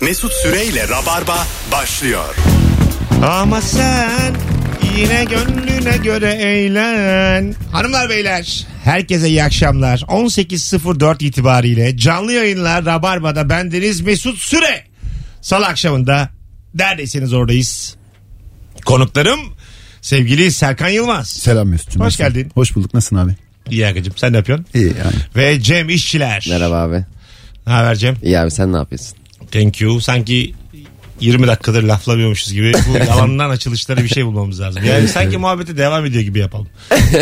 Mesut Süreyle Rabarba başlıyor. Ama sen yine gönlüne göre eğlen. Hanımlar beyler herkese iyi akşamlar. 18.04 itibariyle canlı yayınlar Rabarba'da bendeniz Mesut Süre. Salı akşamında neredeyseniz oradayız. Konuklarım sevgili Serkan Yılmaz. Selam Mesut'cum. Hoş Nasılsın? geldin. Hoş bulduk. Nasılsın abi? İyi Akıcım sen ne yapıyorsun? İyi yani. Ve Cem İşçiler. Merhaba abi. Ne haber Cem? İyi abi sen ne yapıyorsun? Thank you. Sanki 20 dakikadır laflamıyormuşuz gibi bu yalandan açılışlara bir şey bulmamız lazım. Yani sanki muhabbete devam ediyor gibi yapalım.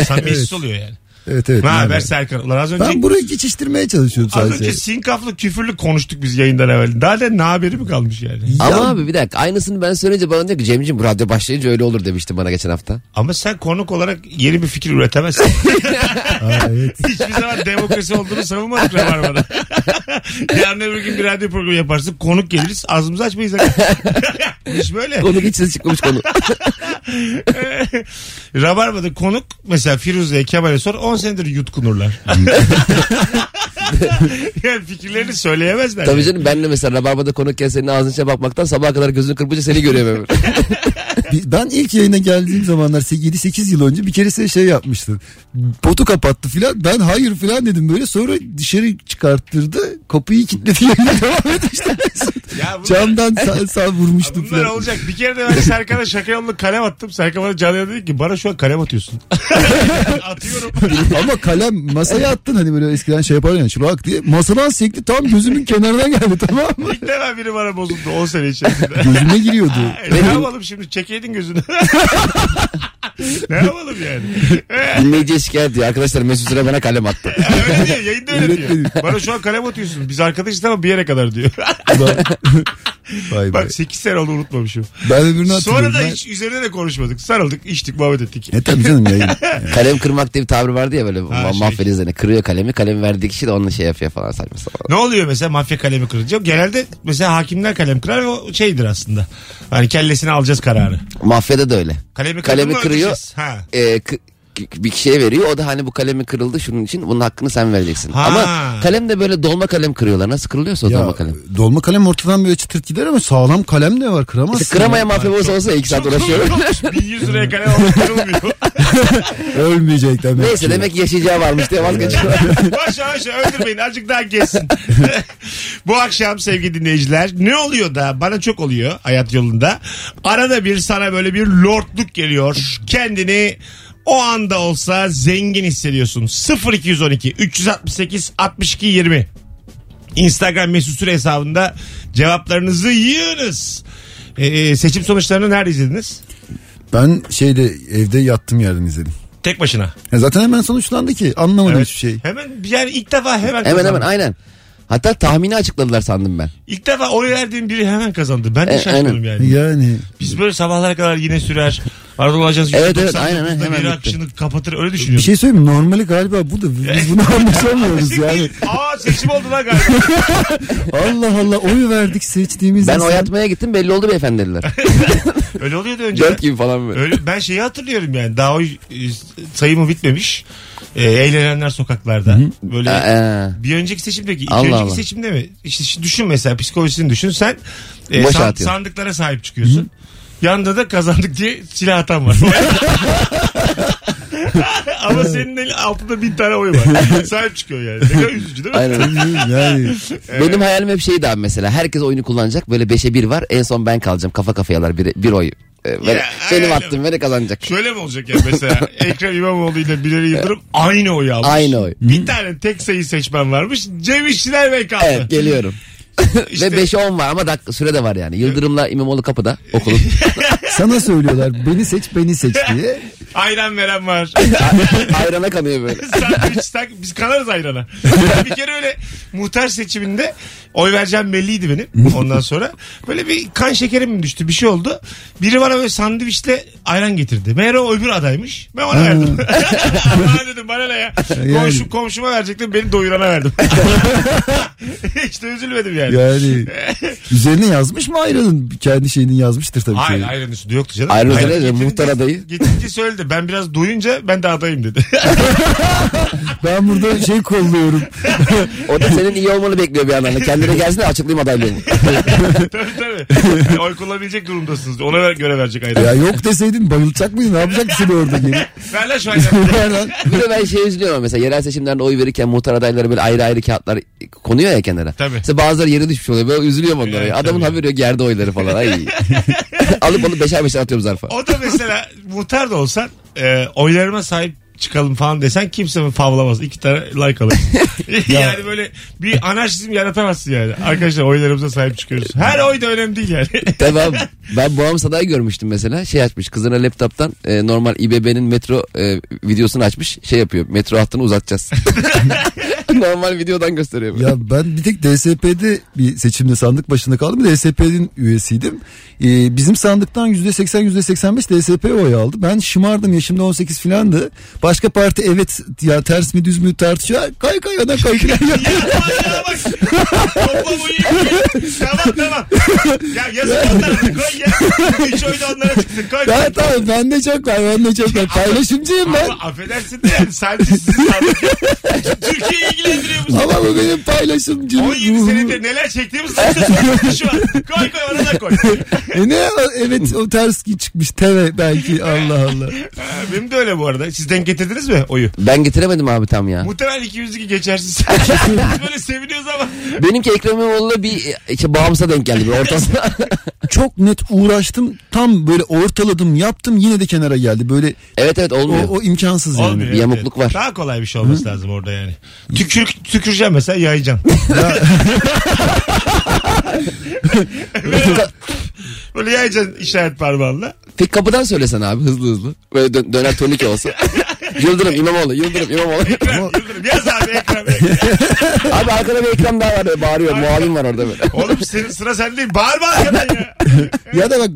Samimiyetsiz oluyor yani. Evet evet. Ne yani. haber Serkan? Ulan az önce, Ben burayı geçiştirmeye çalışıyordum az sadece. önce sinkaflı küfürlü konuştuk biz yayından evvel. Daha da ne haberi mi kalmış yani? Ama abi bir dakika aynısını ben söyleyince bana diyor ki Cem'ciğim bu radyo başlayınca öyle olur demiştin bana geçen hafta. Ama sen konuk olarak yeni bir fikir üretemezsin. Aa, evet. Hiçbir zaman demokrasi olduğunu savunmadık Rabarba'da. Yarın öbür gün bir radyo programı yaparsın. Konuk geliriz. Ağzımızı açmayız. Hiç böyle. Konu geçsiz çıkmamış konu. Rabarba'da konuk mesela Firuze'ye Kemal'e sor 10 senedir yutkunurlar. yani fikirlerini söyleyemezler. Tabii canım benle mesela Rabarba'da konukken senin ağzın içine bakmaktan sabaha kadar gözünü kırpınca seni görüyorum hep. Bir- Ben ilk yayına geldiğim zamanlar 7-8 yıl önce bir keresinde şey yapmıştın. Potu kapattı filan. Ben hayır filan dedim böyle. Sonra dışarı çıkarttırdı. Kapıyı kilitledi. Yayına devam etmişti. Ya bunlar, Camdan sağ, sağ vurmuştum bunlar filan. olacak. Bir kere de ben Serkan'a şaka yollu kalem attım. Serkan bana canlıya dedi ki bana şu an kalem atıyorsun. Atıyorum. Ama kalem masaya attın hani böyle eskiden şey yapar ya çılak diye. Masadan sekti tam gözümün kenarına geldi tamam mı? İlk defa biri bana bozuldu 10 sene içerisinde. Gözüme giriyordu. E, ne yapalım şimdi çekeydin gözünü. ne yapalım yani? Dinleyiciye şikayet diyor. Arkadaşlar Mesut Süre bana kalem attı. Öyle diyor yayında öyle Evet diyor. dedim. Bana şu an kalem atıyorsun. Biz arkadaşız ama bir yere kadar diyor. Vay be. Bak 8 sene onu unutmamışım. Ben öbürünü hatırlıyorum. Sonra da Ben- hiç üzerine de konuşmadık. Sarıldık, içtik, muhabbet ettik. E tabii canım yayın. Kalem kırmak diye bir tabir vardı ya böyle ma- şey. mafya üzerine kırıyor kalemi. Kalemi verdiği kişi de onunla şey yapıyor falan saçma sapan. Ne oluyor mesela mafya kalemi kırınca? Genelde mesela hakimler kalem kırar ve o şeydir aslında. Hani kellesini alacağız kararı. Mafyada da öyle. Kalemi, Kalemi kırıldı mı kırıyor. ödeyeceğiz. Ha. e, k- k- bir kişiye veriyor. O da hani bu kalemi kırıldı şunun için bunun hakkını sen vereceksin. Ha. Ama kalem de böyle dolma kalem kırıyorlar. Nasıl kırılıyorsa o dolma kalem. dolma kalem ortadan böyle çıtırt gider ama sağlam kalem de var kıramazsın. İşte kıramaya mafya olsa olsa iki saat uğraşıyorum. 1100 liraya kalem almak kırılmıyor. Ölmeyecek demek. Neyse ki. demek ki yaşayacağı varmış diye vazgeçiyorlar. Başa başa öldürmeyin azıcık daha geçsin. Bu akşam sevgili dinleyiciler ne oluyor da bana çok oluyor hayat yolunda. Arada bir sana böyle bir lordluk geliyor. Kendini o anda olsa zengin hissediyorsun. 0212 368 62 20 Instagram mesut süre hesabında cevaplarınızı yığınız. Ee, seçim sonuçlarını nerede izlediniz? Ben şeyde evde yattım yerden izledim. Tek başına. Ya zaten hemen sonuçlandı ki anlamadım hiçbir şey. Hemen yani ilk defa hemen hemen kazandım. hemen aynen. Hatta tahmini açıkladılar sandım ben. İlk defa oy verdiğim biri hemen kazandı. Ben de E, şaşırdım aynen. yani. Yani Biz böyle sabahlara kadar yine sürer. Arada olacağız. Evet, evet, aynen, aynen, hemen Biri bitti. akışını kapatır öyle bir düşünüyorum. şey söyleyeyim mi? normali galiba bu da biz bunu şey anlaşamıyoruz yani. Aa seçim oldu lan galiba. Allah Allah oy verdik seçtiğimiz Ben insan. oy atmaya gittim belli oldu beyefendi dediler. Öyle oluyordu önce. Dört gibi falan böyle. Öyle, ben şeyi hatırlıyorum yani daha oy e, sayımı bitmemiş. E, eğlenenler sokaklarda. Böyle Aa, aa. bir önceki seçimdeki iki Allah önceki Allah. seçimde mi? İşte şimdi düşün mesela psikolojisini düşün. Sen e, Boşa san- atıyor. sandıklara sahip çıkıyorsun. Yanında da kazandık diye silah atan var. Ama senin el altında bin tane oy var. sahip çıkıyor yani. Ne kadar üzücü değil mi? Aynen. yani Benim hayalim hep şeydi abi mesela. Herkes oyunu kullanacak. Böyle beşe bir var. En son ben kalacağım. Kafa kafayalar bir, bir oy. Ee, böyle- Ya, benim aynen. attım beni kazanacak. Şöyle mi olacak ya mesela Ekrem İmamoğlu ile Binali Yıldırım aynı oyu almış. Aynı oy. Bir tane tek sayı seçmen varmış. Cem İşçiler Bey kaldı. Evet geliyorum. İşte- Ve 5'e 10 var ama dakika süre de var yani. Yıldırım'la İmamoğlu kapıda okulun. sana söylüyorlar beni seç beni seç diye. Ayran veren var. Ayrana kanıyor böyle. Sandviç tak. Biz kanarız ayrana. bir kere öyle muhtar seçiminde oy vereceğim belliydi benim ondan sonra. Böyle bir kan şekerim mi düştü bir şey oldu. Biri bana böyle sandviçle ayran getirdi. Meğer o öbür adaymış. Ben ona verdim. Allah'a dedim bana ne ya. Yani. Komşu, komşuma verecektim beni doyurana verdim. Hiç de üzülmedim yani. Yani üzerine yazmış mı ayranın kendi şeyini yazmıştır tabii Hayır ki. ayran üstünde yoktu canım. Ayran üstünde Hayır, ne? getirince- Muhtar adayı. Getirince söyledi ben biraz doyunca ben de adayım dedi. Ben burada şey kolluyorum. O da senin iyi olmanı bekliyor bir yandan. da. Kendine gelsin de açıklayayım adaylığını. tabii tabii. Yani oy kullanabilecek durumdasınız. Ona ver- göre verecek ya ayda. yok deseydin bayılacak mıydın? Ne yapacaksın seni orada geri? Ver lan şu ayda. Ver lan. Bir de ben şey üzülüyorum mesela yerel seçimlerde oy verirken muhtar adayları böyle ayrı ayrı kağıtlar konuyor ya kenara. Tabii. Mesela bazıları yere düşmüş oluyor. Böyle üzülüyorum onlara. Evet, Adamın tabii. haberi yok yerde oyları falan. Ay. alıp alıp beşer beşer atıyorum zarfa. O da mesela muhtar da olsan e, oylarıma sahip çıkalım falan desen kimse mi favlamaz. İki tane like alır. yani böyle bir anarşizm yaratamazsın yani. Arkadaşlar oylarımıza sahip çıkıyoruz. Her oy da önemli değil yani. Tamam. Ben Boğam Saday'ı görmüştüm mesela. Şey açmış kızına laptop'tan e, normal İBB'nin metro e, videosunu açmış. Şey yapıyor metro hattını uzatacağız. normal videodan gösteriyor. böyle. Ya ben bir tek DSP'de bir seçimde sandık başında kaldım. DSP'nin üyesiydim. Ee, bizim sandıktan %80 %85 DSP oy aldı. Ben şımardım yaşımda 18 filandı. Başka parti evet ya ters mi düz mü tartışıyor. Kay kay ana kay kay. Manyağa bak. Toplam oyu yapıyor. Tamam tamam. Ya yazık onlara koy ya. Üç oy da onlara çıksın. Koy. ben tamam ben de çok var ben de çok var. Paylaşımcıyım ben. Ama affedersin de yani sadece sizi sandık. Türkiye'yi ilgilendiriyor bu Ama bu benim paylaşımcım. 17 senedir neler çektiğimiz sırtı şu an. Koy koy ona da koy. E ne evet o ters çıkmış teve belki Allah Allah. Ha, Benim de öyle bu arada. Siz denk getirdiniz mi oyu? Ben getiremedim abi tam ya. Muhtemelen 202 geçersiz. Biz böyle seviniyoruz ama. Benimki Ekrem İmamoğlu'na bir e, işte bağımsa denk geldi. Bir ortasına. Çok net uğraştım tam böyle ortaladım yaptım yine de kenara geldi böyle evet evet o, olmuyor. o imkansız yani. Olmuyor. bir yamukluk var. Daha kolay bir şey olması lazım orada yani. Tükür, tüküreceğim mesela yayacağım. Böyle yayacaksın işaret parmağınla. Peki kapıdan söylesen abi hızlı hızlı. Böyle dö- döner turnike olsun. Yıldırım İmamoğlu, Yıldırım İmamoğlu. Ekrem, Yıldırım, yaz abi Ekrem. Ekrem. abi arkada bir ekran daha var böyle bağırıyor. Muavin var orada böyle. Oğlum senin sıra sende değil. Bağırma arkadan ya. Ya da bak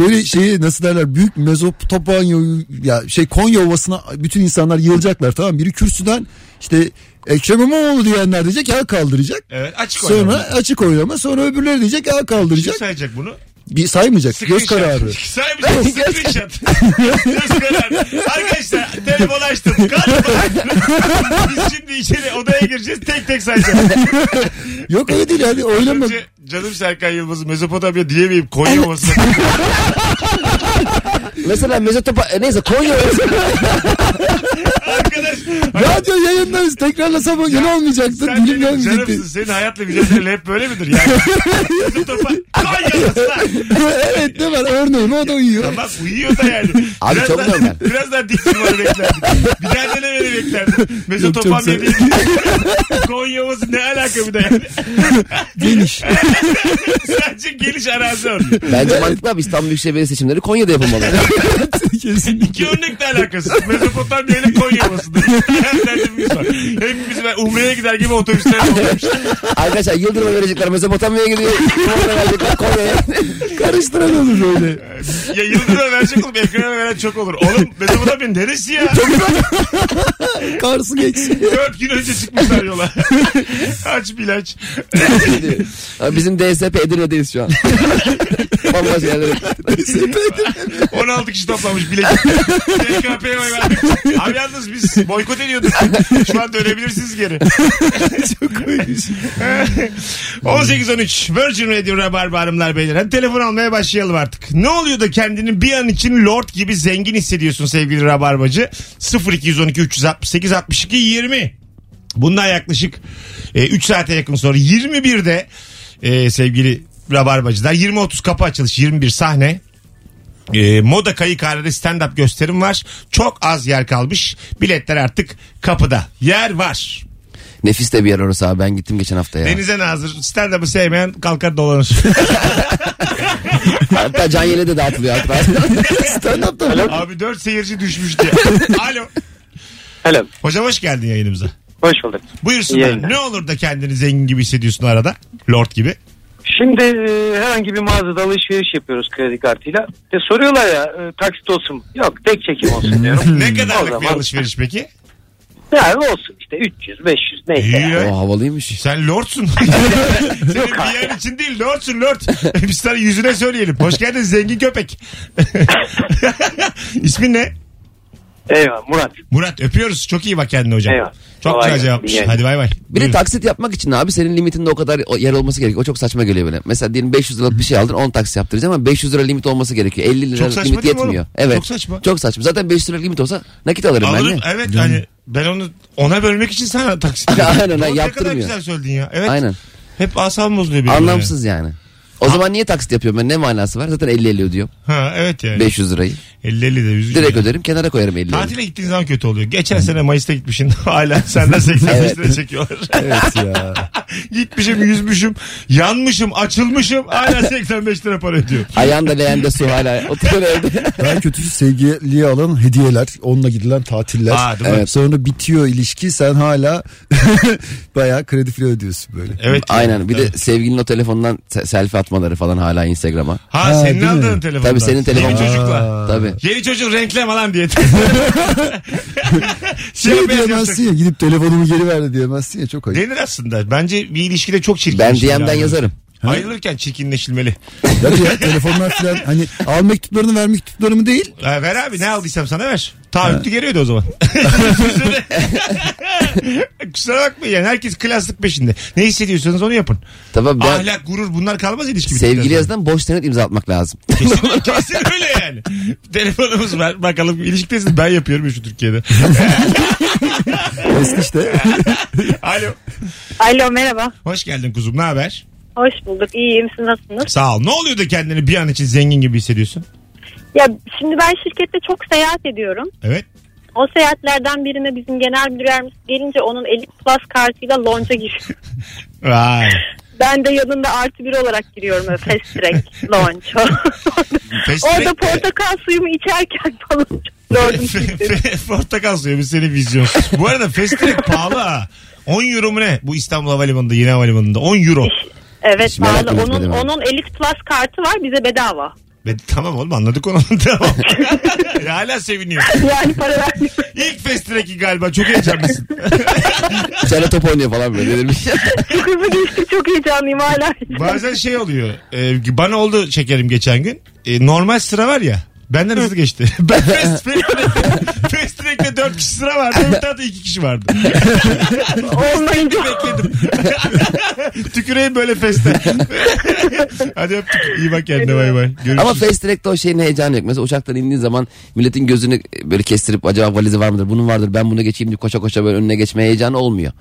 böyle şeyi nasıl derler büyük Mezopotamya ya şey Konya Ovası'na bütün insanlar yığılacaklar tamam mı? biri kürsüden işte Ekrem İmamoğlu diyenler diyecek ya kaldıracak. Evet açık Sonra oynama. açık oylama sonra öbürleri diyecek ya Kim kaldıracak. sayacak bunu? Bir saymayacak göz Screenshot. kararı. Saymayacağım screenshot. göz kararı. Arkadaşlar telefon açtım. Kalkma. Biz şimdi içeri odaya gireceğiz. Tek tek sayacağız. Yok öyle değil hadi oylama. Önce canım Serkan Yılmaz'ı Mezopotamya diyemeyip Konya olması. Mesela Mezotopa... e, neyse Konya Arkadaş. Radyo yayınlarız tekrarlasam o yine olmayacaktı Sen dilim benim gelmeyecekti. canımsın. Senin hayatla mücadele hep böyle midir yani? Mezopotamya Konya olması lan. evet ne var örneğin o da uyuyor. Tamam uyuyor da yani. Abi çok daha, normal. Biraz daha dik numara beklerdik. Bir tane de beni beklerdim. çok Mezopotamya sev- değil. Konya olması ne alaka bir de yani. Geniş. Sadece geliş arazi örneği. Bence mantıklı abi İstanbul Büyükşehir Belediye seçimleri Konya'da yapılmalı. Kesinlikle. İki örnekle alakası. Mezopotamya ile Konya olmasında. Her derdimiz var. Hepimiz ben Umre'ye gider gibi otobüslerde otobüs. Arkadaşlar Yıldırım'a verecekler Mezopotamya'ya gidiyor. Konya'ya verecekler Konya'ya. Karıştıran olur böyle. Ya Yıldırım'a verecek olup ekrana veren çok olur. Oğlum Mezopotamya neresi ya? Karsı geçsin. Dört gün önce çıkmışlar yola. Aç bilaç. Abi Bizim DSP Edirne'deyiz şu an. Bambaşka yerlere. 16 kişi toplamış bilecik. TKP'ye oy vermek için. Abi yalnız biz boykot ediyorduk. Şu an dönebilirsiniz geri. Çok koymuş. 18-13 Virgin Radio Rabarba Hanımlar Beyler. Hadi telefon almaya başlayalım artık. Ne oluyor da kendini bir an için lord gibi zengin hissediyorsun sevgili Rabarbacı? 0212 368 62 20. Bundan yaklaşık 3 saate yakın sonra 21'de e, sevgili Rabarbacılar 20.30 kapı açılış 21 sahne. E, Moda Kayıkhane'de stand-up gösterim var. Çok az yer kalmış. Biletler artık kapıda. Yer var. Nefis de bir yer orası abi ben gittim geçen hafta ya. Denize nazır. Stand-up'ı sevmeyen kalkar dolanır. Hatta Can Yele'de dağıtılıyor hatta. Stand up'ta mı? Abi dört seyirci düşmüş diye. Alo. Alo. Hocam hoş geldin yayınımıza. Hoş bulduk. İyi Buyursunlar. yayınlar. Ne olur da kendini zengin gibi hissediyorsun arada. Lord gibi. Şimdi e, herhangi bir mağazada alışveriş yapıyoruz kredi kartıyla. E, soruyorlar ya e, taksit olsun mu? Yok tek çekim olsun diyorum. Hmm. Ne Hmm. O kadarlık zaman- bir alışveriş peki? Yani olsun işte 300 500 neyse. İyi ya. o havalıymış. Sen lordsun. Senin bir yer için değil lordsun lord. Biz sana yüzüne söyleyelim. Hoş geldin zengin köpek. İsmin ne? Eyvallah Murat. Murat öpüyoruz. Çok iyi bak kendine hocam. Eyvallah. Çok Kolay güzel gelsin. cevapmış. İyi yayınlar. Hadi bay bay. Bir de Buyurun. taksit yapmak için abi senin limitinde o kadar o- yer olması gerekiyor. O çok saçma geliyor bana. Mesela diyelim 500 liralık bir şey aldın 10 taksit yaptıracağım ama 500 lira limit olması gerekiyor. 50 lira Çok saçma limit değil mi oğlum? yetmiyor. Evet. Çok saçma. Çok saçma. Zaten 500 lira limit olsa nakit alırım, ben Alırım. de. Evet hani ben onu ona bölmek için sana taksit Aynen, yapıyorum. Doğru, ha, Ne kadar yaptırmıyor. güzel söyledin ya. Evet. Aynen. Hep asam bozuluyor benim. Anlamsız yani. O zaman niye taksit yapıyorum ben? Ne manası var? Zaten 50 50 ödüyorum. yani. Ha evet yani. 500 lirayı. 50 50 de üzücü. Direkt yani. öderim kenara koyarım 50 'yi. Tatile gittiğin zaman kötü oluyor. Geçen sene Mayıs'ta gitmişsin. Hala senden 85 Evet. lira çekiyorlar. Evet ya. Gitmişim, yüzmüşüm, yanmışım, açılmışım. Hala 85 lira para ödüyor. Ayağında leğende su hala oturuyor evde. Ben kötüsü sevgiliye alan hediyeler, onunla gidilen tatiller. Aa, değil mi? Evet. Sonra bitiyor ilişki sen hala bayağı kredi file ödüyorsun böyle. Evet. Aynen. Bir Evet. de sevgilinin o telefondan se- selfie atmaları falan hala Instagram'a. Ha, Ha, senin değil mi? aldığın telefonda. Tabii senin Yeni telefonun. çocukla. Tabii. Yeni çocuk renkleme lan diye. Şey Siyah beyaz diyemezsin yapacak. ya gidip telefonumu geri ver de diyemezsin ya çok ayıp. Denir aslında. Bence bir ilişkide çok çirkin. Ben DM'den yazarım. Ayrılırken çirkinleşilmeli. Ya da ya telefonlar falan hani al mektuplarını ver mektuplarımı değil. Ha, ver abi ne aldıysam sana ver. Taahhütlü geliyordu o zaman. Kusura bakmayın yani herkes klaslık peşinde. Ne hissediyorsanız onu yapın. Tabii ben Ahlak, gurur bunlar kalmaz ilişki. bittikten sevgili sonra. yazdan boş senet imza atmak lazım. Kesin, kesin öyle yani. Telefonumuz var bakalım ilişkidesiniz ben yapıyorum ya şu Türkiye'de. Eski işte. Alo. Alo merhaba. Hoş geldin kuzum ne haber? Hoş bulduk. İyiyim. Siz nasılsınız? Sağ ol. Ne oluyor da kendini bir an için zengin gibi hissediyorsun? Ya şimdi ben şirkette çok seyahat ediyorum. Evet. O seyahatlerden birine bizim genel müdürlerimiz gelince onun Elite Plus kartıyla lonca giriyor. Vay. Ben de yanında artı bir olarak giriyorum öyle fast track lonca. Fast Orada track- portakal suyumu içerken falan çok gördüm. sizi. Portakal suyu biz seni vizyonsuz. Bu arada fast track pahalı ha. 10 euro mu ne? Bu İstanbul Havalimanı'nda yeni havalimanında 10 euro. Evet Hiç merak pahalı. etmedim Onun, abi. onun Elite Plus kartı var bize bedava. Ve tamam oğlum anladık onu. tamam. Hala seviniyor. Yani para vermiyorum. İlk fast track'i galiba çok heyecanlısın. Sen top oynuyor falan böyle delirmiş. Çok hızlı geçti çok heyecanlıyım hala. Bazen şey oluyor. e, bana oldu şekerim geçen gün. E, normal sıra var ya. Benden hızlı geçti. Ben fast track'te, fast track'te 4 kişi sıra vardı. Öbür tarafta 2 kişi vardı. Olmayınca. Bekledim. Tüküreyim böyle feste. Hadi öptük. İyi bak kendine bay bay. Görüşürüz. Ama fast track'te o şeyin heyecanı yok. Mesela uçaktan indiğin zaman milletin gözünü böyle kestirip acaba valizi var mıdır? Bunun vardır ben bunu geçeyim diye koşa koşa böyle önüne geçme heyecanı olmuyor.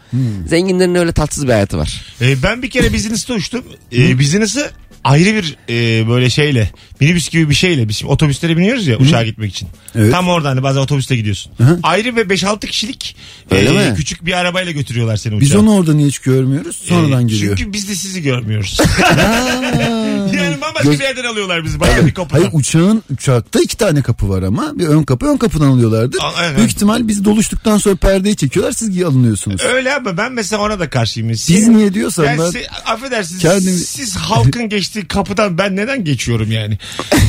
Zenginlerin öyle tatsız bir hayatı var. Ee, ben bir kere business'ta uçtum. Ee, business'ı ayrı bir e, böyle şeyle minibüs gibi bir şeyle biz şimdi otobüslere biniyoruz ya uçağa gitmek için. Evet. Tam orada hani bazen otobüste gidiyorsun. Ayrı ve 5-6 kişilik Öyle e, mi? küçük bir arabayla götürüyorlar seni uçağa. Biz onu orada niye hiç görmüyoruz? Ee, Sonradan giriyor. Çünkü biz de sizi görmüyoruz. yani bambaşka bir yerden alıyorlar bizi. Başka bir kapıdan. Hayır uçağın uçakta iki tane kapı var ama bir ön kapı ön kapıdan alıyorlardı. A- aynen. Büyük ihtimal biz doluştuktan sonra perdeyi çekiyorlar siz alınıyorsunuz. Öyle ama ben mesela ona da karşıyım. Siz, Biz niye diyorsan Yani ben- si- affedersiniz Kendim- siz halkın geçtiği kapıdan ben neden geçiyorum yani?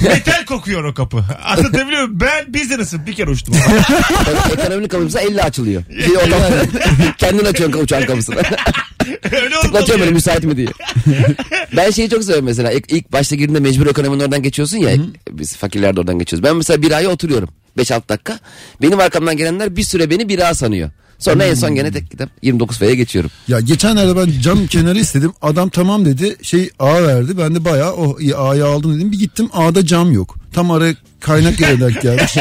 Metal kokuyor o kapı. Anlatabiliyor muyum? Ben business'ım bir kere uçtum. Tabii Ekonominin kapısı 50 açılıyor. Bir otomatik- Kendin açıyorsun uçağın kapısını. Öyle Tıklatıyorum olmalı. böyle ya. müsait mi diye. ben şeyi çok seviyorum mesela. İlk, ilk başta girdiğinde mecbur ekonominin oradan geçiyorsun ya. Biz fakirler de oradan geçiyoruz. Ben mesela bir aya oturuyorum. 5-6 dakika. Benim arkamdan gelenler bir süre beni bira sanıyor. Sonra en son gene tek gidip 29 F'ye geçiyorum. Ya geçenlerde ben cam kenarı istedim. Adam tamam dedi. Şey A verdi. Ben de bayağı o iyi A'yı aldım dedim. Bir gittim A'da cam yok. Tam ara kaynak yere denk gelmiş.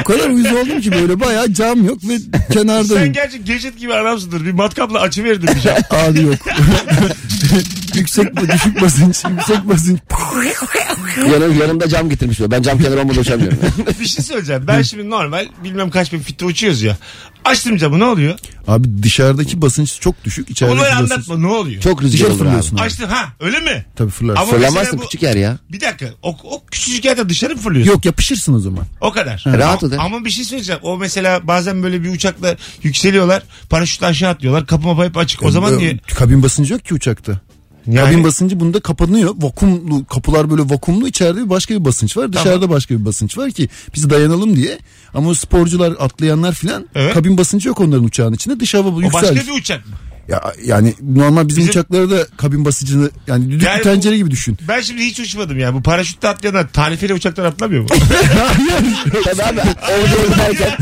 o kadar uyuz oldum ki böyle bayağı cam yok ve Sen kenardayım. gerçi gecet gibi adamsındır. Bir matkapla açıverdin bir şey. A'da yok. yüksek düşük basınç, yüksek basınç. Yanım, yanımda cam getirmiş. böyle. Ben cam kenarı olmadan uçamıyorum. Bir şey söyleyeceğim. Ben şimdi normal bilmem kaç bin fitte uçuyoruz ya. Açtım camı ne oluyor? Abi dışarıdaki basınç çok düşük. İçerideki Bunları basınç. anlatma ne oluyor? Çok rüzgar Dışarı olur fırlıyorsun abi. abi. Açtım ha öyle mi? Tabii fırlarsın. Ama mesela Fırlamazsın bu- küçük yer ya. Bir dakika o, o küçücük yerden dışarı mı fırlıyorsun? Yok yapışırsın o zaman. O kadar. Rahat Ama- o da. Ama bir şey söyleyeceğim. O mesela bazen böyle bir uçakla yükseliyorlar. Paraşütle aşağı atlıyorlar. Kapı mapı hep açık. O zaman Ee, niye? Kabin basıncı yok ki uçakta. Yani- Kabin basıncı bunda kapanıyor. Vakumlu kapılar böyle vakumlu içeride bir başka bir basınç var. Dışarıda başka bir basınç var ki biz dayanalım diye. Ama o sporcular atlayanlar filan Evet. kabin basıncı yok onların uçağın içinde. Dış hava O başka yükselir. bir uçak mı? Ya, yani normal bizim, Bizim- uçaklara da kabin basıcını yani düdüklü Yani bu- tencere gibi düşün. Ben şimdi hiç uçmadım ya. Bu paraşütle atlayanlar tarifeli uçaktan atlamıyor mu? Tabii abi orada derken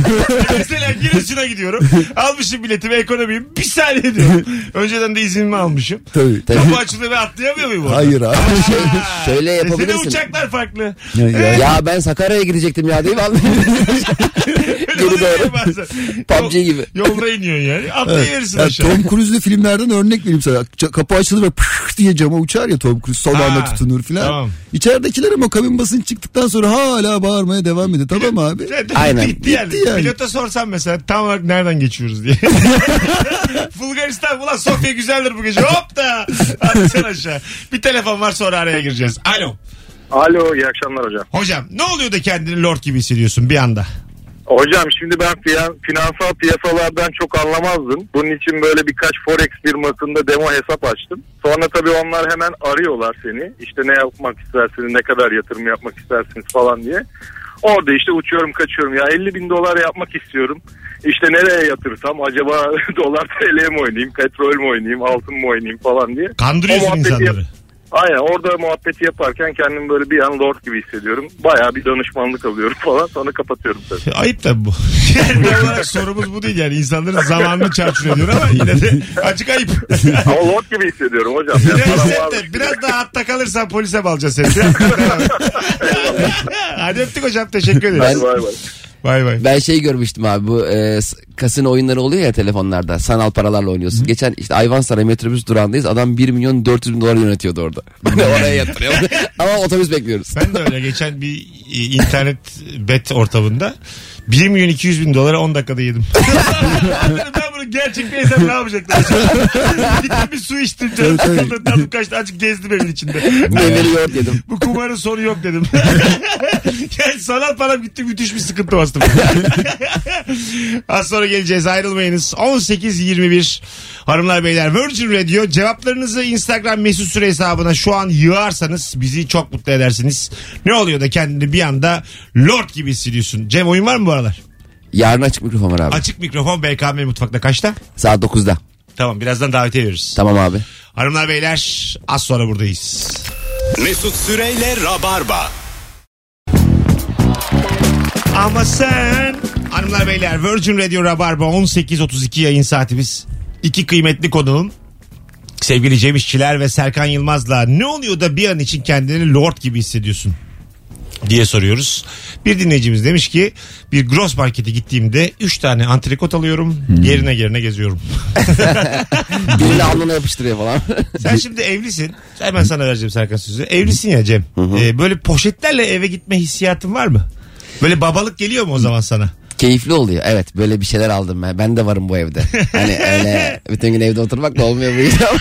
Mesela Giresun'a gidiyorum. Almışım biletimi ekonomiyim. Bir saniye diyorum. Önceden de izinimi almışım. Tabii. Tabii. Kapı açıldı ve atlayamıyor muyum? orada? Hayır abi. Ha, Şöyle yapabilirsin. desene uçaklar farklı. Ya, ya. ya ben Sakarya'ya gidecektim ya deyip anlayabilirim. Öyle Geri oluyor doğru. bazen. PUBG Yol- gibi. Yolda iniyorsun yani. Atlayıverirsin Ya aşağı. Tom Cruise'lu filmlerden örnek vereyim sana. Ça- Kapı açılır ve püf diye cama uçar ya Tom Cruise. Sol Ha, anda tutunur filan. tamam. İçeridekiler ama kabin basınç çıktıktan sonra hala bağırmaya devam ediyor. Tamam abi. Aynen. Gitti yani. Gitti yani. Pilota sorsam mesela tam olarak nereden geçiyoruz diye. Bulgaristan ulan Sofya güzeldir bu gece. Hop da. Hadi sen aşağı. Bir telefon var sonra araya gireceğiz. Alo. Alo iyi akşamlar hocam. Hocam ne oluyor da kendini lord gibi hissediyorsun bir anda? Hocam şimdi ben fiyan- finansal piyasalardan çok anlamazdım. Bunun için böyle birkaç forex firmasında demo hesap açtım. Sonra tabii onlar hemen arıyorlar seni. İşte ne yapmak istersiniz, ne kadar yatırım yapmak istersiniz falan diye. Orada işte uçuyorum kaçıyorum ya 50 bin dolar yapmak istiyorum. İşte nereye yatırsam acaba dolar TL'ye mi oynayayım, petrol mü oynayayım, altın mı oynayayım falan diye. O Kandırıyorsun muhabbeti insanları. yap- Aynen orada muhabbeti yaparken kendimi böyle bir an lord gibi hissediyorum. Bayağı bir danışmanlık alıyorum falan sonra kapatıyorum tabii. Ayıp tabii bu. Yani tam olarak sorumuz bu değil yani. İnsanların zamanını çarçur ediyor ama yine de açık ayıp. Ama lord gibi hissediyorum hocam. Biraz, Yani param hisset varmış de, gibi. biraz daha hatta kalırsan polise balacağız seni. Hadi öptük hocam teşekkür ederiz. Vay vay. Bay bay. Ben şey görmüştüm abi bu e, s- kasino oyunları oluyor ya telefonlarda sanal paralarla oynuyorsun. Geçen işte Ayvansaray metrobüs durağındayız adam 1 milyon 400 bin dolar yönetiyordu orada. Oraya yatırıyor ama otobüs bekliyoruz. Ben de öyle geçen bir e, internet bet ortamında 1 milyon 200 bin dolara 10 dakikada yedim. Dedim ben bunu gerçekten yesem ne yapacaklar? Gittim bir su içtim. Canım Tabii, tabii. sıkıldı. Tadım kaçtı. Azıcık gezdim evin içinde. Devleri yoğurt yedim. Bu kumarın sonu yok dedim. yani sanat param gitti müthiş bir sıkıntı bastım. Az sonra geleceğiz ayrılmayınız. 18.21 Hanımlar Beyler Virgin Radio cevaplarınızı Instagram mesut süre hesabına şu an yığarsanız bizi çok mutlu edersiniz. Ne oluyor da kendini bir anda lord gibi hissediyorsun. Cem oyun var mı bu aralar? Yarın açık mikrofon var abi. Açık mikrofon BKM mutfakta kaçta? Saat 9'da. Tamam birazdan davetiye veririz. Tamam abi. Hanımlar Beyler az sonra buradayız. Mesut Süreyle Rabarba. Ama sen hanımlar beyler Virgin Radio Rabarba 18.32 yayın saatimiz. İki kıymetli konuğum sevgili Cem İşçiler ve Serkan Yılmaz'la ne oluyor da bir an için kendini lord gibi hissediyorsun diye soruyoruz. Bir dinleyicimiz demiş ki bir gross markete gittiğimde 3 tane antrikot alıyorum yerine yerine geziyorum. Birini alnına yapıştırıyor falan. Sen şimdi evlisin. Hemen sana vereceğim Serkan sözü. Evlisin ya Cem. Ee, böyle poşetlerle eve gitme hissiyatın var mı? Böyle babalık geliyor mu o zaman sana? Keyifli oluyor. Evet böyle bir şeyler aldım ben. Ben de varım bu evde. Hani öyle bütün gün evde oturmak da olmuyor bu iş ama.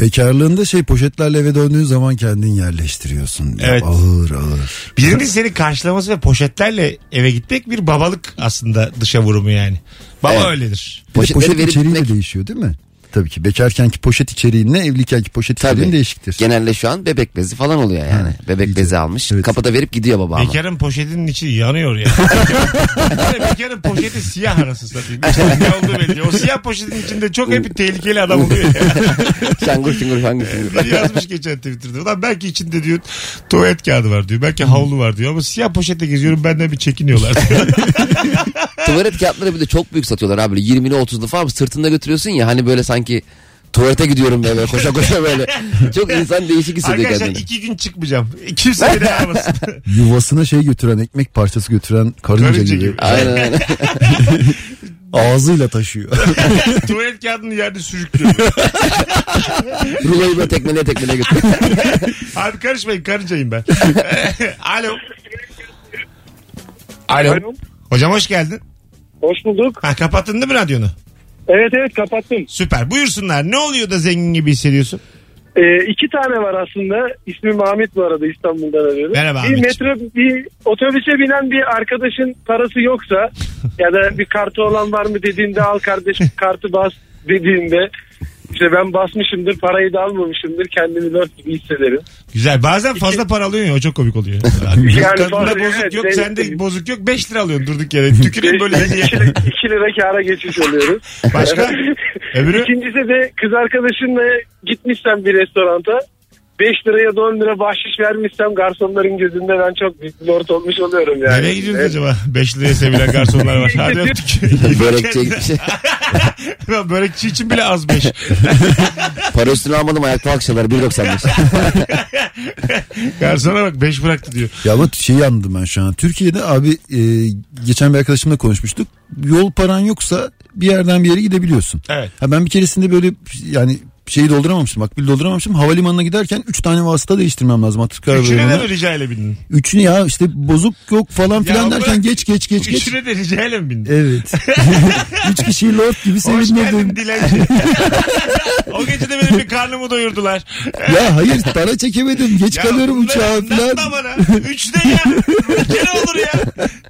Bekarlığında şey poşetlerle eve döndüğün zaman kendin yerleştiriyorsun. Ya, Evet. Ağır ağır. Birinin seni karşılaması ve poşetlerle eve gitmek bir babalık aslında dışa vurumu yani. Baba Evet. öyledir. Bir de Poşetleri poşet verip içeriği de gitmek. değişiyor değil mi? Tabii ki bekarkenki poşet içeriğinle evliykenki poşet içeriğin değişiktir. Genelde şu an bebek bezi falan oluyor yani. Ha, bebek iyice. bezi almış. Evet. Kapıda verip gidiyor baba ama. Bekarın poşetinin içi yanıyor ya. Yani. Bekarın poşeti siyah arası satayım. İşte ne oldu belli. O siyah poşetin içinde çok hep bir tehlikeli adam oluyor ya. Şangur şungur şangur şungur. Biri yazmış geçen Twitter'da. Ulan belki içinde diyor tuvalet kağıdı var diyor. Belki havlu var diyor. Ama siyah poşetle geziyorum benden bir çekiniyorlar. diyor. Tuvalet kağıtları bir de çok büyük satıyorlar abi. 20'li 30'lu falan sırtında götürüyorsun ya hani böyle sanki tuvalete gidiyorum böyle, böyle koşa koşa böyle. Çok insan değişik hissediyor Arkadaşlar kendini. iki gün çıkmayacağım. Kimse beni aramasın. Yuvasına şey götüren ekmek parçası götüren karınca, Karınca gibi. gibi. Aynen aynen. Ağzıyla taşıyor. tuvalet kağıdını yerde sürüklüyor. Ruloyu böyle tekmeleye tekmeleye götürüyor. Abi karışmayın karıncayım ben. Alo. Alo. Alo. Hocam hoş geldin. Hoş bulduk. Ha, kapattın değil mi radyonu? Evet evet kapattım. Süper. Buyursunlar. Ne oluyor da zengin gibi hissediyorsun? Ee, iki tane var aslında. İsmim Ahmet bu arada İstanbul'dan arıyorum. Merhaba bir Ahmetciğim. metro, bir otobüse binen bir arkadaşın parası yoksa ya da bir kartı olan var mı dediğinde al kardeşim kartı bas dediğinde işte ben basmışımdır parayı da almamışımdır kendimi dört gibi hissederim. Güzel. Bazen fazla para alıyorsun ya o çok komik oluyor. Yani Kadında fazla- bozuk evet, yok, zengin- sende bozuk yok. 5 lira alıyorsun durduk yere. Tüküreyim böyle. iki, iki lira kâra geçiş oluyoruz. Başka? Ee, Öbürü İkincisi de kız arkadaşınla gitmişsem bir restoranta 5 lira ya da 10 lira bahşiş vermişsem garsonların gözünde ben çok büyük lord olmuş oluyorum yani. nereye gidiyoruz Evet. acaba? 5 liraya sevilen garsonlar var. Hadi öptük. Börekçiye gitmiş. Lan Börekçi için bile az 5. Para üstüne almadım ayakta alkışlar 1.95. Garsona bak 5 bıraktı diyor. Ya ama şeyi anladım ben şu an. Türkiye'de abi e, geçen bir arkadaşımla konuşmuştuk. Yol paran yoksa bir yerden bir yere gidebiliyorsun. Evet. Ha ben bir keresinde böyle yani şeyi dolduramamıştım. Akbil dolduramamıştım. Havalimanına giderken 3 tane vasıta değiştirmem lazım. Atatürk Üçüne de mi Havalimanı'na. rica ile bindin? Üçünü ya işte bozuk yok falan filan bırak. derken geç geç geç geç. Üçüne de rica ile mi bindin? Evet. Üç kişiyi lord gibi Hoş geldin sevinmedim. dilenci. o gece de benim bir karnımı doyurdular. Ya hayır para çekemedim. Geç kalıyorum bunları uçağa anlatma filan. bana. Üçte ya. Bir kere olur ya.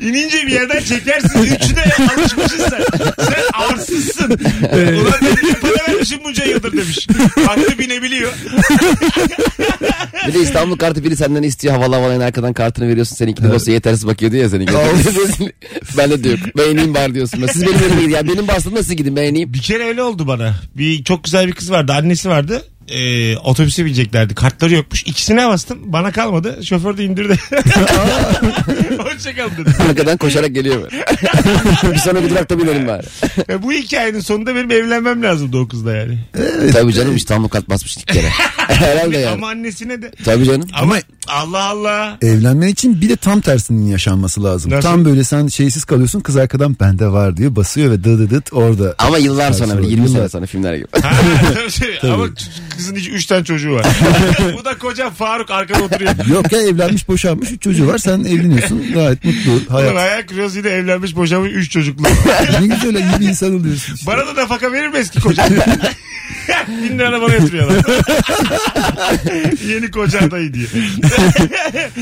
İnince bir yerden çekersin. Üçte ya. Alışmışsın sen. Sen arsızsın. Ulan dedim, para vermişim bunca yıldır demiş. Aklı binebiliyor. bir de İstanbul kartı biri senden istiyor havalı havalı arkadan kartını veriyorsun. Seninkini evet. dosya yetersiz bakıyor diyor ya seninki. ben de diyor. Ben ineyim bari diyorsun. Siz benim önüme gidin. Yani benim bastım nasıl gidin ben ineyim. Bir kere öyle oldu bana. Bir çok güzel bir kız vardı. Annesi vardı. Ee, otobüse bineceklerdi. Kartları yokmuş. İkisine bastım. Bana kalmadı. Şoför de indirdi. Hoşçakalın dedi. Arkadan koşarak geliyor böyle. bir sonraki durakta binelim bari. E, bu hikayenin sonunda benim evlenmem lazımdı o kızla yani. Tabii canım İstanbul kart basmış ilk kere. Herhalde yani. Ama annesine de. Tabii canım. Ama Allah Allah. Evlenmen için bir de tam tersinin yaşanması lazım. Nasıl? Tam böyle sen şeysiz kalıyorsun kız arkadan bende var diyor basıyor ve dı dı dıt orada. Ama yıllar sonra böyle 20 Yıllar. sene sonra filmler gibi. Ha, tabii, tabii. Ama kızın hiç üç tane çocuğu var. bu da koca Faruk arkada oturuyor. Yok ya evlenmiş boşanmış üç çocuğu var sen evleniyorsun gayet mutlu Ulan hayat. hayal kırıyoruz yine evlenmiş boşanmış üç çocuklu. ne güzel iyi bir insan oluyorsun işte. Bana da nafaka verir mi eski koca? Bin lira bana yatırıyorlar. Yeni koca adayı diye.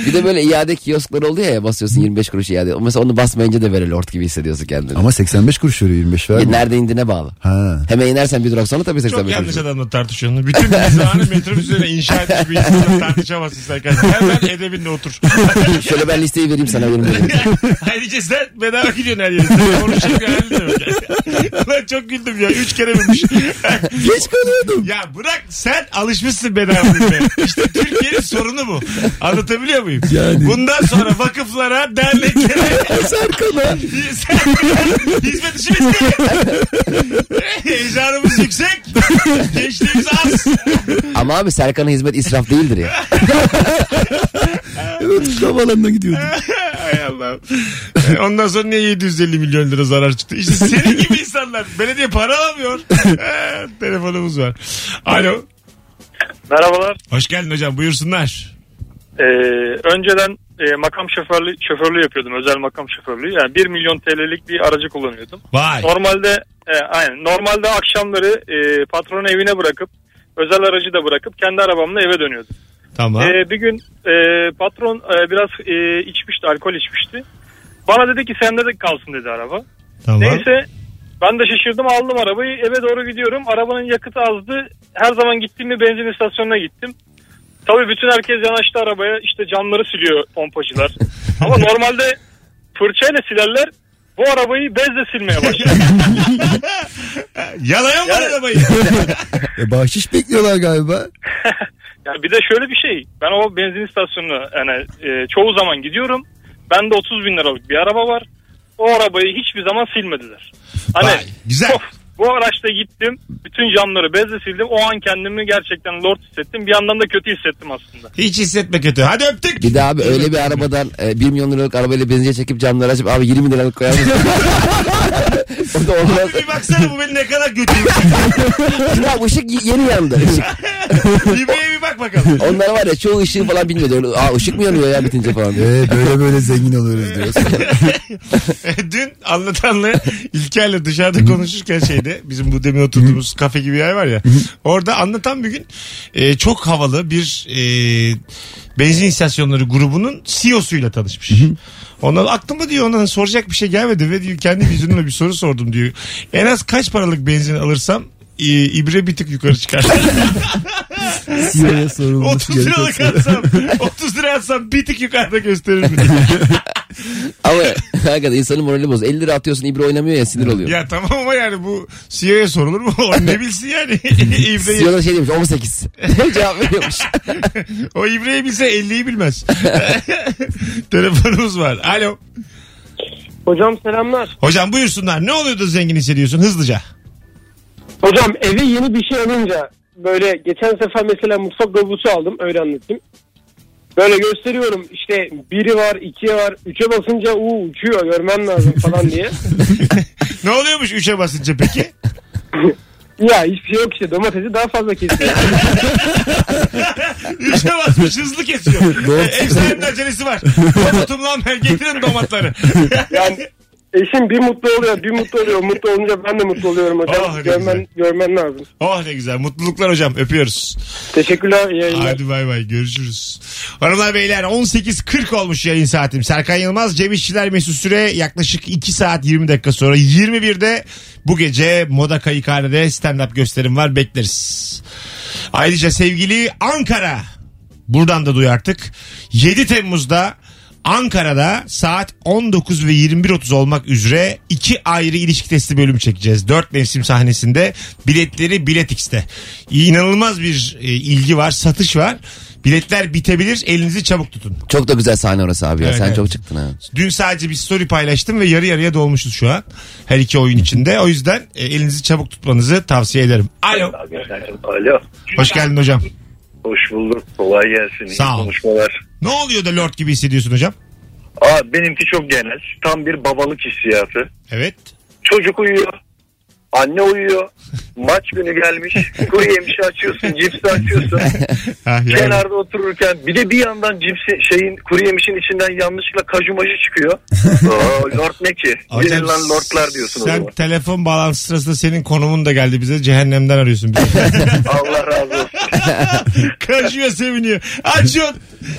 Bir de böyle iade kioskları oluyor ya basıyorsun 25 kuruş iade. Mesela onu basmayınca da böyle lord gibi hissediyorsun kendini. Ama 85 kuruş veriyor 25 E, vermiyor. nerede indiğine bağlı. Ha. Hemen inersen bir durak sonra tabii Çok 85 yanlış kuruş. adamla tartışıyorsun. Bütün mizahını metrobüs üzerine inşa etmiş bir insanla tartışamazsın sen kardeşim. Hemen edebinle otur. Şöyle ben listeyi vereyim sana benim dedim. Ayrıca sen bedava gidiyorsun her yere. Sen konuşacak halin de yok. yani. Ulan çok güldüm ya. Üç kere bilmiş. Geç kalıyordum. ya bırak sen alışmışsın bedava bilmeye. İşte Türkiye'nin sorunu bu. Anlatabiliyor muyum? Yani. Bundan sonra vakıflara, derneklere, Serkan'a. Hizmet işi bitti. Heyecanımız yüksek. Gençliğimiz az. Ama abi Serkan'a hizmet israf değildir ya. Evet havalanına gidiyordum. Hay Allah. Ondan sonra niye 750 milyon lira zarar çıktı? İşte senin gibi insanlar belediye para alamıyor. Ee, Telefonumuz var. Alo. Merhabalar. Hoş geldin hocam buyursunlar. Ee, önceden e, makam şoförlüğü, şoförlüğü yapıyordum. Özel makam şoförlüğü. Yani 1 milyon TL'lik bir aracı kullanıyordum. Vay. Normalde e, aynen. Normalde akşamları e, patronu evine bırakıp özel aracı da bırakıp kendi arabamla eve dönüyordum. Tamam. E, bir gün e, patron e, biraz e, içmişti, alkol içmişti. Bana dedi ki sende de kalsın dedi araba. tamam. Neyse ben de şaşırdım aldım arabayı eve doğru gidiyorum. Arabanın yakıtı azdı. Her zaman gittiğim bir benzin istasyonuna gittim. Tabii bütün herkes yanaştı arabaya işte camları siliyor pompacılar. Ama normalde fırçayla silerler bu arabayı bezle silmeye başladı. Yalayan var Yani- arabayı. E, bahşiş bekliyorlar galiba. Yani bir de şöyle bir şey. Ben o benzin istasyonuna yani e, çoğu zaman gidiyorum. Bende 30 bin liralık bir araba var. O arabayı hiçbir zaman silmediler. Hani Vay, güzel. of, bu araçta gittim. Bütün camları bezle sildim. O an kendimi gerçekten lord hissettim. Bir yandan da kötü hissettim aslında. Hiç hissetme kötü. Hadi öptük. Bir de abi öyle bir arabadan e, 1 milyon liralık arabayla benziye çekip camları açıp abi 20 liralık koyar mısın? o da olmaz. Bir baksana bu beni ne kadar götürüyor. Ya ışık y- yeni yandı. Işık. İbreye bir bak bakalım. Onlar var ya çoğu ışığı falan bilmiyor. Öyle, Aa ışık mı yanıyor ya bitince falan diyor. E, böyle böyle zengin oluyoruz diyoruz. Dün anlatanla İlker'le dışarıda konuşurken şeyde bizim bu demin oturduğumuz kafe gibi bir yer var ya. Orada anlatan bir gün e, çok havalı bir e, benzin istasyonları grubunun CEO'suyla tanışmış. Ondan aklıma diyor ona soracak bir şey gelmedi ve diyor kendi yüzümle bir soru sordum diyor. En az kaç paralık benzin alırsam e, ibre bir tık yukarı çıkar. Siyo'ya sorulması 30 liralık gerekiyor. atsam 30 lira atsam bir tık yukarıda gösterir mi? Ama Hakikaten insanın morali boz. 50 lira atıyorsun İbre oynamıyor ya sinir oluyor. Ya tamam ama yani bu CEO'ya sorulur mu? O ne bilsin yani? İbreyi, Siyoda şey demiş 18. Cevap veriyormuş. o İbreyi bilse 50'yi bilmez. Telefonumuz var. Alo. Hocam selamlar. Hocam buyursunlar. Ne oluyor da zengin hissediyorsun hızlıca? Hocam eve yeni bir şey alınca böyle geçen sefer mesela mutfak robotu aldım öyle anlatayım. Böyle gösteriyorum işte biri var ikiye var üçe basınca u uçuyor görmem lazım falan diye. Ne oluyormuş 3'e basınca peki? ya hiçbir şey yok işte domatesi daha fazla kesiyor. 3'e basmış hızlı kesiyor. Ev sahibinin acelesi var. Robotum lan ben getirin domatları. Yani eşim bir mutlu oluyor bir mutlu oluyor mutlu olunca ben de mutlu oluyorum hocam. Ah, ne görmen, güzel. görmen lazım. oh ne güzel. Mutluluklar hocam. Öpüyoruz. Teşekkürler iyi yayınlar. Hadi bay bay görüşürüz. Hanımlar beyler 18.40 olmuş yayın saatim. Serkan Yılmaz, Cem İşçiler Mesut Süre yaklaşık 2 saat 20 dakika sonra 21'de bu gece Moda Kayıkhane'de stand-up gösterim var bekleriz. Ayrıca sevgili Ankara buradan da duyarttık. 7 Temmuz'da Ankara'da saat 19 ve 21.30 olmak üzere iki ayrı ilişki testi bölümü çekeceğiz. Dört mevsim sahnesinde biletleri Bilet X'te. İnanılmaz bir e, ilgi var, satış var. Biletler bitebilir elinizi çabuk tutun. Çok da güzel sahne orası abi ya. Evet, Sen evet. çok çıktın ha. Dün sadece bir story paylaştım ve yarı yarıya dolmuşuz şu an. Her iki oyun içinde. O yüzden e, elinizi çabuk tutmanızı tavsiye ederim. Alo. Alo. Hoş geldin hocam. Hoş bulduk. Kolay gelsin. İyi Sağ ol. konuşmalar. Ne oluyor da lord gibi hissediyorsun hocam? Aa, benimki çok genel. Tam bir babalık hissiyatı. Evet. Çocuk uyuyor. Anne uyuyor. Maç günü gelmiş. Kuru yemişi açıyorsun. Cipsi açıyorsun. Ah, yani. Kenarda otururken bir de bir yandan cipsi şeyin kuru yemişin içinden yanlışlıkla kaju maju çıkıyor. Aa, lord ne ki? Gelin lan lordlar diyorsun o sen zaman. telefon bağlantısı sırasında senin konumun da geldi bize. Cehennemden arıyorsun bizi. Allah razı olsun. Kaşıyor seviniyor. Açıyorsun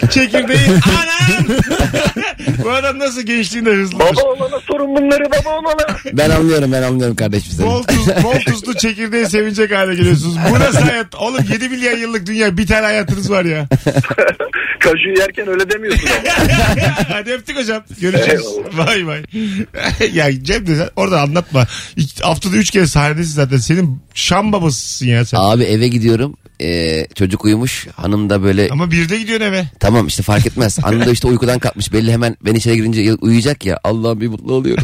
çekirdeği. Anam! Bu adam nasıl gençliğinde hızlıdır. Baba olana sorun bunları baba olana. Ben anlıyorum ben anlıyorum kardeşim seni. Bol, tuz, bol tuzlu çekirdeği sevinecek hale geliyorsunuz. Bu nasıl hayat? Oğlum 7 milyar yıllık dünya bir tane hayatınız var ya. Kaju yerken öyle demiyorsun ama. Hadi öptük hocam. Görüşürüz. Vay vay. ya Cem de sen orada anlatma. İki- haftada 3 kere sahnedesin zaten. Senin şam babasısın ya sen. Abi eve gidiyorum. Ee, çocuk uyumuş. Hanım da böyle Ama birde gidiyorsun eve. tamam işte fark etmez. Hanım da işte uykudan kalkmış. Belli hemen ben içeri girince uyuyacak ya. Allah'ım bir mutlu oluyorum.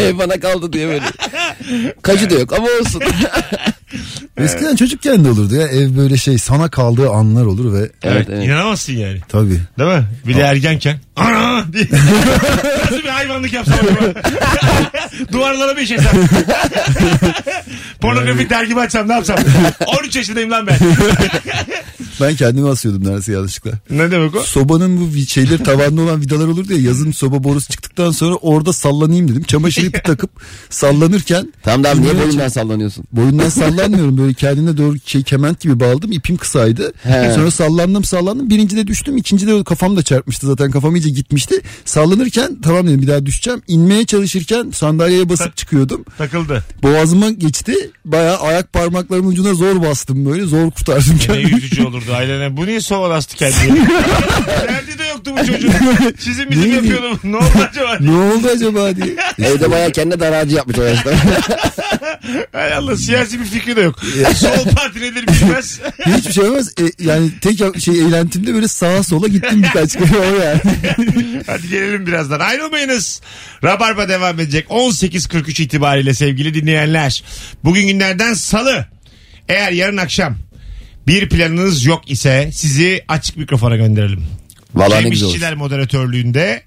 Ev bana kaldı diye böyle. Kacı da yok ama olsun. Eskiden çocukken de olurdu ya. Ev böyle şey sana kaldığı anlar olur ve evet evet. İnanamazsın yani. tabii. Değil mi? Bir de ergenken. Ana diye. Nasıl bir hayvanlık yapsam acaba? Duvarlara bir şey sen. Pornografik dergi mi açsam ne yapsam? 13 yaşındayım lan ben. Ben kendimi asıyordum neredeyse yanlışlıkla. ne demek o? Sobanın bu vi- şeyleri tavanda olan vidalar olurdu ya yazın soba borusu çıktıktan sonra orada sallanayım dedim. Çamaşır ipi takıp sallanırken Tamam da abi niye Bilmiyorum. boyundan sallanıyorsun? boyundan sallanmıyorum böyle kendine doğru şey kement gibi bağladım ipim kısaydı. He. Sonra sallandım sallandım birincide düştüm ikincide kafam da çarpmıştı zaten kafam iyice gitmişti. Sallanırken tamam dedim bir daha düşeceğim inmeye çalışırken sandalyeye basıp çıkıyordum Takıldı. boğazıma geçti bayağı ayak parmaklarımın ucuna zor bastım böyle zor kurtardım Ne kendimi. yüzücü olurdu ailene. Bu niye sova bastı kendini? Derdi de yoktu bu çocuğun. Çizim bizim Neydi? yapıyordum. Ne oldu acaba? ne oldu acaba diye. Evde bayağı kendine daracı yapmış o yaşta. Hay Allah siyasi bir fikri de yok. Sol parti nedir bilmez. Hiçbir şey olmaz. E, yani tek şey eğlentimde böyle sağa sola gittim birkaç kere o yani. Hadi gelelim birazdan. Ayrılmayınız. Rabarba devam edecek. 18.43 itibariyle sevgili dinleyenler. Bugün günlerden salı. Eğer yarın akşam bir planınız yok ise sizi açık mikrofona gönderelim. Vallahi ne Cem güzel olur. İşçiler moderatörlüğünde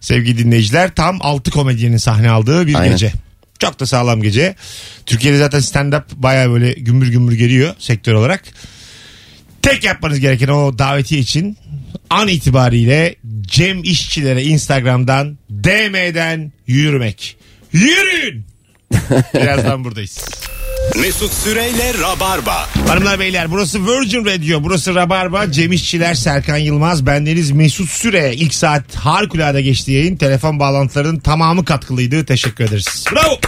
sevgili dinleyiciler tam 6 komedyenin sahne aldığı bir Aynen. gece. Çok da sağlam gece. Türkiye'de zaten stand-up baya böyle gümbür gümbür geliyor sektör olarak. Tek yapmanız gereken o davetiye için an itibariyle Cem İşçilere Instagram'dan DM'den yürümek. Yürüyün! Birazdan buradayız. Mesut Süreyle Rabarba. Hanımlar beyler burası Virgin Radio, burası Rabarba, Cem İşçiler, Serkan Yılmaz, bendeniz Mesut Süre. İlk saat harikulade geçti yayın. Telefon bağlantılarının tamamı katkılıydı. Teşekkür ederiz. Bravo.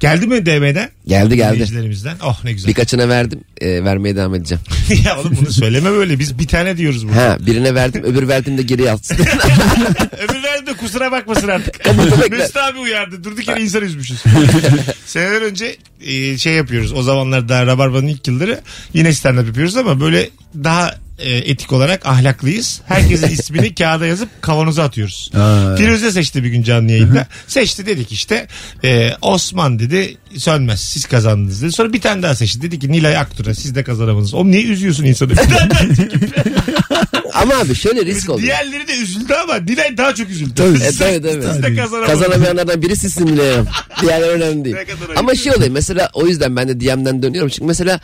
Geldi mi DM'den? Geldi geldi. Dinleyicilerimizden. Oh ne güzel. Birkaçına verdim. e, vermeye devam edeceğim. ya oğlum bunu söyleme böyle. Biz bir tane diyoruz burada. Ha birine verdim öbür verdim de geri yatsın. Öbür verdi de kusura bakmasın artık. bekler. Mesut abi uyardı. Durduk yere insan üzmüşüz. Seneler önce e, şey yapıyoruz. O zamanlar daha Rabarba'nın ilk yılları yine stand-up yapıyoruz ama böyle daha e, etik olarak ahlaklıyız. Herkesin ismini kağıda yazıp kavanoza atıyoruz. Aa. Firuze seçti bir gün canlı yayında. seçti dedik işte e, Osman dedi sönmez siz kazandınız dedi. Sonra bir tane daha seçti. Dedi ki Nilay Aktura siz de kazanamadınız. Oğlum niye üzüyorsun insanı? Bir tane daha Ama abi şöyle risk oldu. Diğerleri de üzüldü ama Nilay daha çok üzüldü. Tabii. E, tabii, tabii. Siz de kazanamadınız. Kazanamayanlardan biri sizsin bile ya. Diğerleri önemli değil. Ne kadar ayıp Ama değil şey oluyor mesela o yüzden ben de DM'den dönüyorum. Çünkü mesela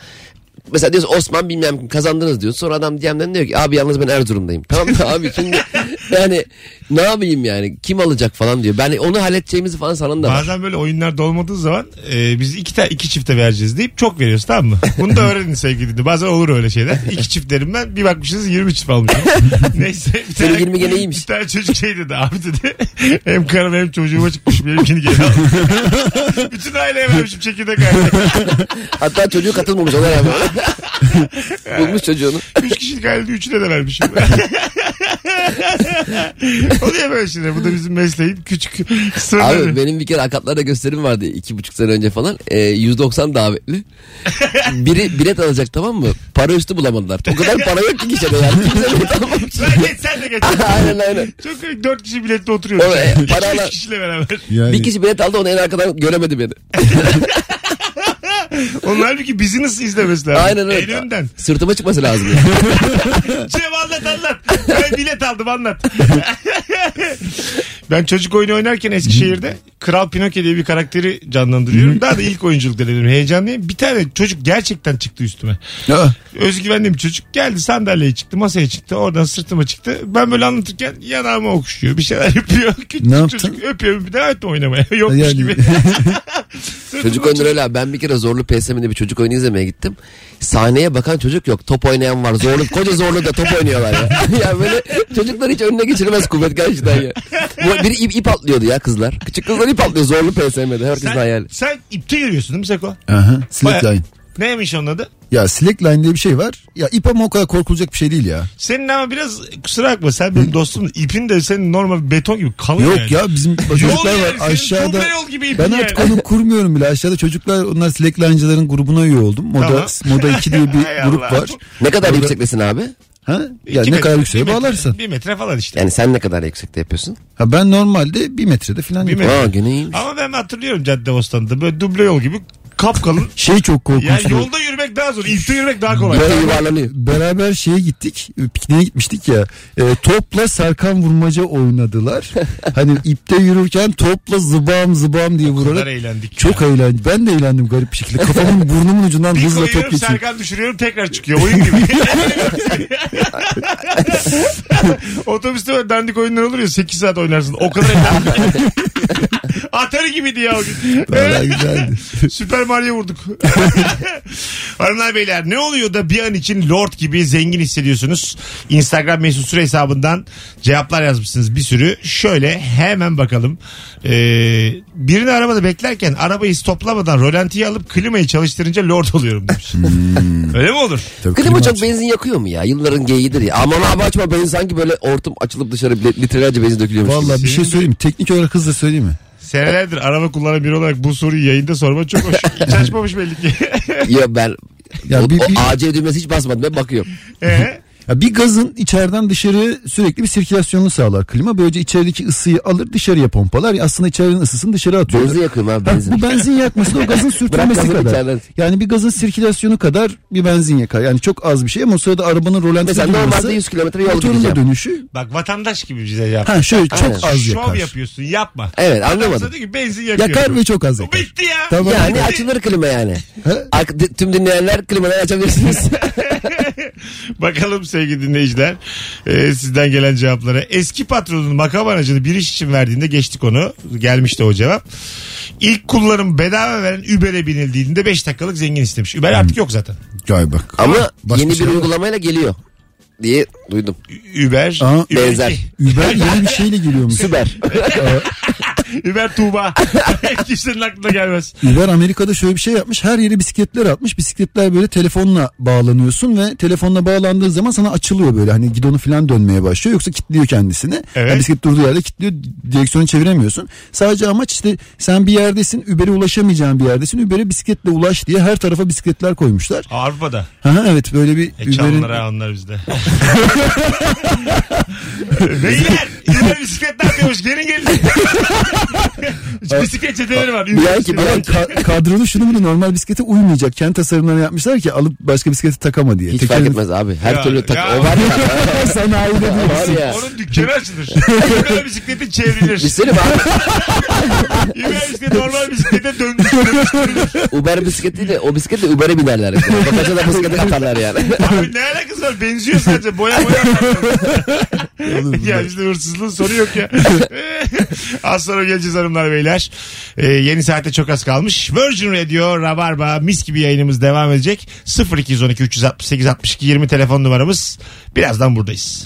Mesela diyorsun Osman bilmem kim kazandınız diyor. Sonra adam DM'den diyor ki abi yalnız ben Erzurum'dayım. Tamam mı abi şimdi yani ne yapayım yani kim alacak falan diyor. Ben onu halledeceğimizi falan sanan da var. Bazen böyle oyunlar dolmadığı zaman e, biz iki ta iki çifte vereceğiz deyip çok veriyoruz tamam mı? Bunu da öğrenin sevgili dinle. Bazen olur öyle şeyler. İki çift derim ben. Bir bakmışsınız 20 çift almışım. Neyse. Bir Senin 20 gene iyiymiş. Bir tane çocuk şey dedi abi dedi. Hem karım hem çocuğuma çıkmış benimkini geri aldım. Bütün aileye vermişim çekirdek aile. Hatta çocuğu katılmamış ona rağmen. Bulmuş çocuğunu. Üç kişilik ailede üçüne de vermişim. Oluyor böyle şeyler. Bu da bizim mesleğin küçük sırları. Abi benim bir kere akatlarda gösterim vardı iki buçuk sene önce falan. Ee, 190 davetli. Biri bilet alacak tamam mı? Para üstü bulamadılar. O kadar para yok ki gişede yani. Kimse bilet almamış. Sen geç sen de geç. aynen aynen. Çok komik. Dört kişi biletle oturuyoruz. O, e, Üç paralar- beş kişiyle beraber. Yani, Bir kişi bilet aldı onu en arkadan göremedi beni. Onlar bir ki bizi nasıl izlemesi lazım. Aynen öyle. En önden. Sırtıma çıkması lazım. Yani. Cem anlat anlat. Ben bilet aldım anlat. ben çocuk oyunu oynarken Eskişehir'de Kral Pinokyo diye bir karakteri canlandırıyorum. Daha da ilk oyunculuk denedim. Heyecanlıyım. Bir tane çocuk gerçekten çıktı üstüme. Ah, Özgüvenli bir çocuk geldi sandalyeye çıktı masaya çıktı oradan sırtıma çıktı. Ben böyle anlatırken yanağıma okşuyor bir şeyler yapıyor. Küçük Ne yaptın? çocuk öpüyor bir daha etme oynamaya yokmuş Yani- gibi. çocuk oyunu öyle abi. Ben bir kere zorlu PSM'de bir çocuk oyunu izlemeye gittim. Sahneye bakan çocuk yok. Top oynayan var. Zorlu, koca zorlu da top oynuyorlar ya. ya böyle çocuklar hiç önüne geçiremez kuvvet gerçekten ya. Bu, biri ip, ip atlıyordu ya kızlar. Küçük kızlar ip atlıyor zorlu PSM'de. Herkesin hayali. sen, sen ipte yürüyorsun değil mi Seko? aha, slackline. Baya- Neymiş onun adı? Ya slackline diye bir şey var. Ya ip ama o kadar korkulacak bir şey değil ya. Senin ama biraz kusura bakma sen benim dostum ipin de senin normal beton gibi kalın Yok yani. ya bizim çocuklar yani, var senin aşağıda. Tugay yol gibi ipin Ben yani. artık onu kurmuyorum bile. Aşağıda çocuklar onlar slackline'cıların grubuna üye oldum. Moda Tamam. Moda 2 diye Hay bir grup Allah. var. Ne kadar yükseklesin abi? Ha? İki Ya ne metre, kadar bir yükseğe metre, bağlarsan. Bir metre falan işte. Yani sen ne kadar yüksekte yapıyorsun? Ha ben normalde bir metrede falan Bir yapıyorum. metre. Aa gene iyiymiş. Ama ben hatırlıyorum Caddebostan'da böyle duble yol gibi kapkalın. Şey çok yani korkunç. yolda yürümek daha zor. İpte yürümek daha kolay. Böyle yuvarlanıyor. Beraber şeye gittik pikniğe gitmiştik ya E, topla sarkan vurmaca oynadılar. hani ipte yürürken topla zıbam zıbam diye Bunlar vurarak eğlendik. çok eğlendim. Ben de eğlendim garip bir şekilde. Kafamın burnumun ucundan Bir hızla top koyuyorum geçiyor. Serkan düşürüyorum tekrar çıkıyor. Oyun gibi. Otobüste böyle dandik oyunlar olur ya 8 saat oynarsın. O kadar eğlenceli. Atari gibiydi ya o gün. Vallahi güzeldi. Süper Mario vurduk. Hanımlar beyler ne oluyor da bir an için lord gibi zengin hissediyorsunuz? Instagram mesut süre hesabından cevaplar yazmışsınız bir sürü. Şöyle hemen bakalım. Ee, birini arabada beklerken arabayı stoplamadan rölantiyi alıp klimayı çalıştırınca lord oluyorum demiş. Hmm. Öyle mi olur? Tabii Klima klima çok benzin yakıyor mu ya? Yılların geyiğidir ya. Aman abi açma benzin sanki böyle ortum açılıp dışarı bile- litrelerce benzin dökülüyormuş. gibi. Vallahi bir şey söyleyeyim mi? Teknik olarak hızla söyleyeyim mi? Senelerdir araba kullanan biri olarak bu soruyu yayında sorma çok hoş. Hiç açmamış belli ki. Ya ben Ya o, bir- o bir- AC düğmesi hiç basmadım ben bakıyorum. Ee, Ya bir gazın içeriden dışarı sürekli bir sirkülasyonunu sağlar klima. Böylece içerideki ısıyı alır dışarıya pompalar. Ya aslında içerinin ısısını dışarı atıyor. Benzin yakıyorum abi Ha, benzin. bu benzin yakması da o gazın sürtünmesi gazı kadar. içeriden. Yani bir gazın sirkülasyonu kadar bir benzin yakar. Yani çok az bir şey ama o sırada arabanın rolantisi Mesela normalde 100 kilometre yol motorun da gideceğim. dönüşü. bak vatandaş gibi bize cevap. Ha şöyle çok Aynen. az Şov yakar. yapıyorsun yapma. Evet Adamsa anlamadım. diyor ki benzin yakıyor. Yakar ve çok az O yakar. bitti ya. Tamam. Yani açılır klima yani. Ha? Ak- d- tüm dinleyenler klimaları açabilirsiniz. Bakalım sevgili dinleyiciler e, sizden gelen cevaplara. Eski patronun makam aracını bir iş için verdiğinde geçtik onu. Gelmişti o cevap. İlk kullanım bedava veren Uber'e binildiğinde 5 dakikalık zengin istemiş. Uber artık yok zaten. Gay bak. Ama Başka yeni bir şey yok. uygulamayla geliyor diye duydum. Ü- Uber. Aha, Uber benzer. iki. Uber yeni bir şeyle geliyormuş. Süper. Ümer Tuğba. Kimsenin aklına gelmez. Uber Amerika'da şöyle bir şey yapmış. Her yere bisikletler atmış. Bisikletler böyle telefonla bağlanıyorsun ve telefonla bağlandığı zaman sana açılıyor böyle. Hani gidonu falan dönmeye başlıyor. Yoksa kilitliyor kendisini. Evet. Yani bisiklet durduğu yerde kilitliyor. Direksiyonu çeviremiyorsun. Sadece amaç işte sen bir yerdesin. Uber'e ulaşamayacağın bir yerdesin. Uber'e bisikletle ulaş diye her tarafa bisikletler koymuşlar. Avrupa'da. Ha, ha, evet böyle bir E Uber'in... çalınır ha onlar bizde. Beyler Uber bisiklet ne yapıyormuş? Gelin gelin. bisiklet çeteleri var. Uber Belki bisiklet. Ama ka- kadronun şunu bile normal bisiklete uymayacak. Kendi tasarımlarını yapmışlar ki alıp başka bisiklete takama diye. Hiç Tekerini- fark etmez abi. Her Ya, türlü tak. ya. O var ya. Sanayide o değil. var ya. Onun dükkanı açılır. Uber bisikleti çevrilir. Düşünsene şey abi. Uber bisikleti normal bisiklete döndürür. Uber bisikletiyle o bisikletle Uber'e binerler. Bakaca da bisiklete katarlar yani. Abi ne alakası var? Benziyor sadece. Boya boya. Olur ya bizde hırsızlığın sonu yok ya. az sonra geleceğiz hanımlar beyler. Ee, yeni saate çok az kalmış. Virgin Radio Rabarba mis gibi yayınımız devam edecek. 0212 368 62 20 telefon numaramız. Birazdan buradayız.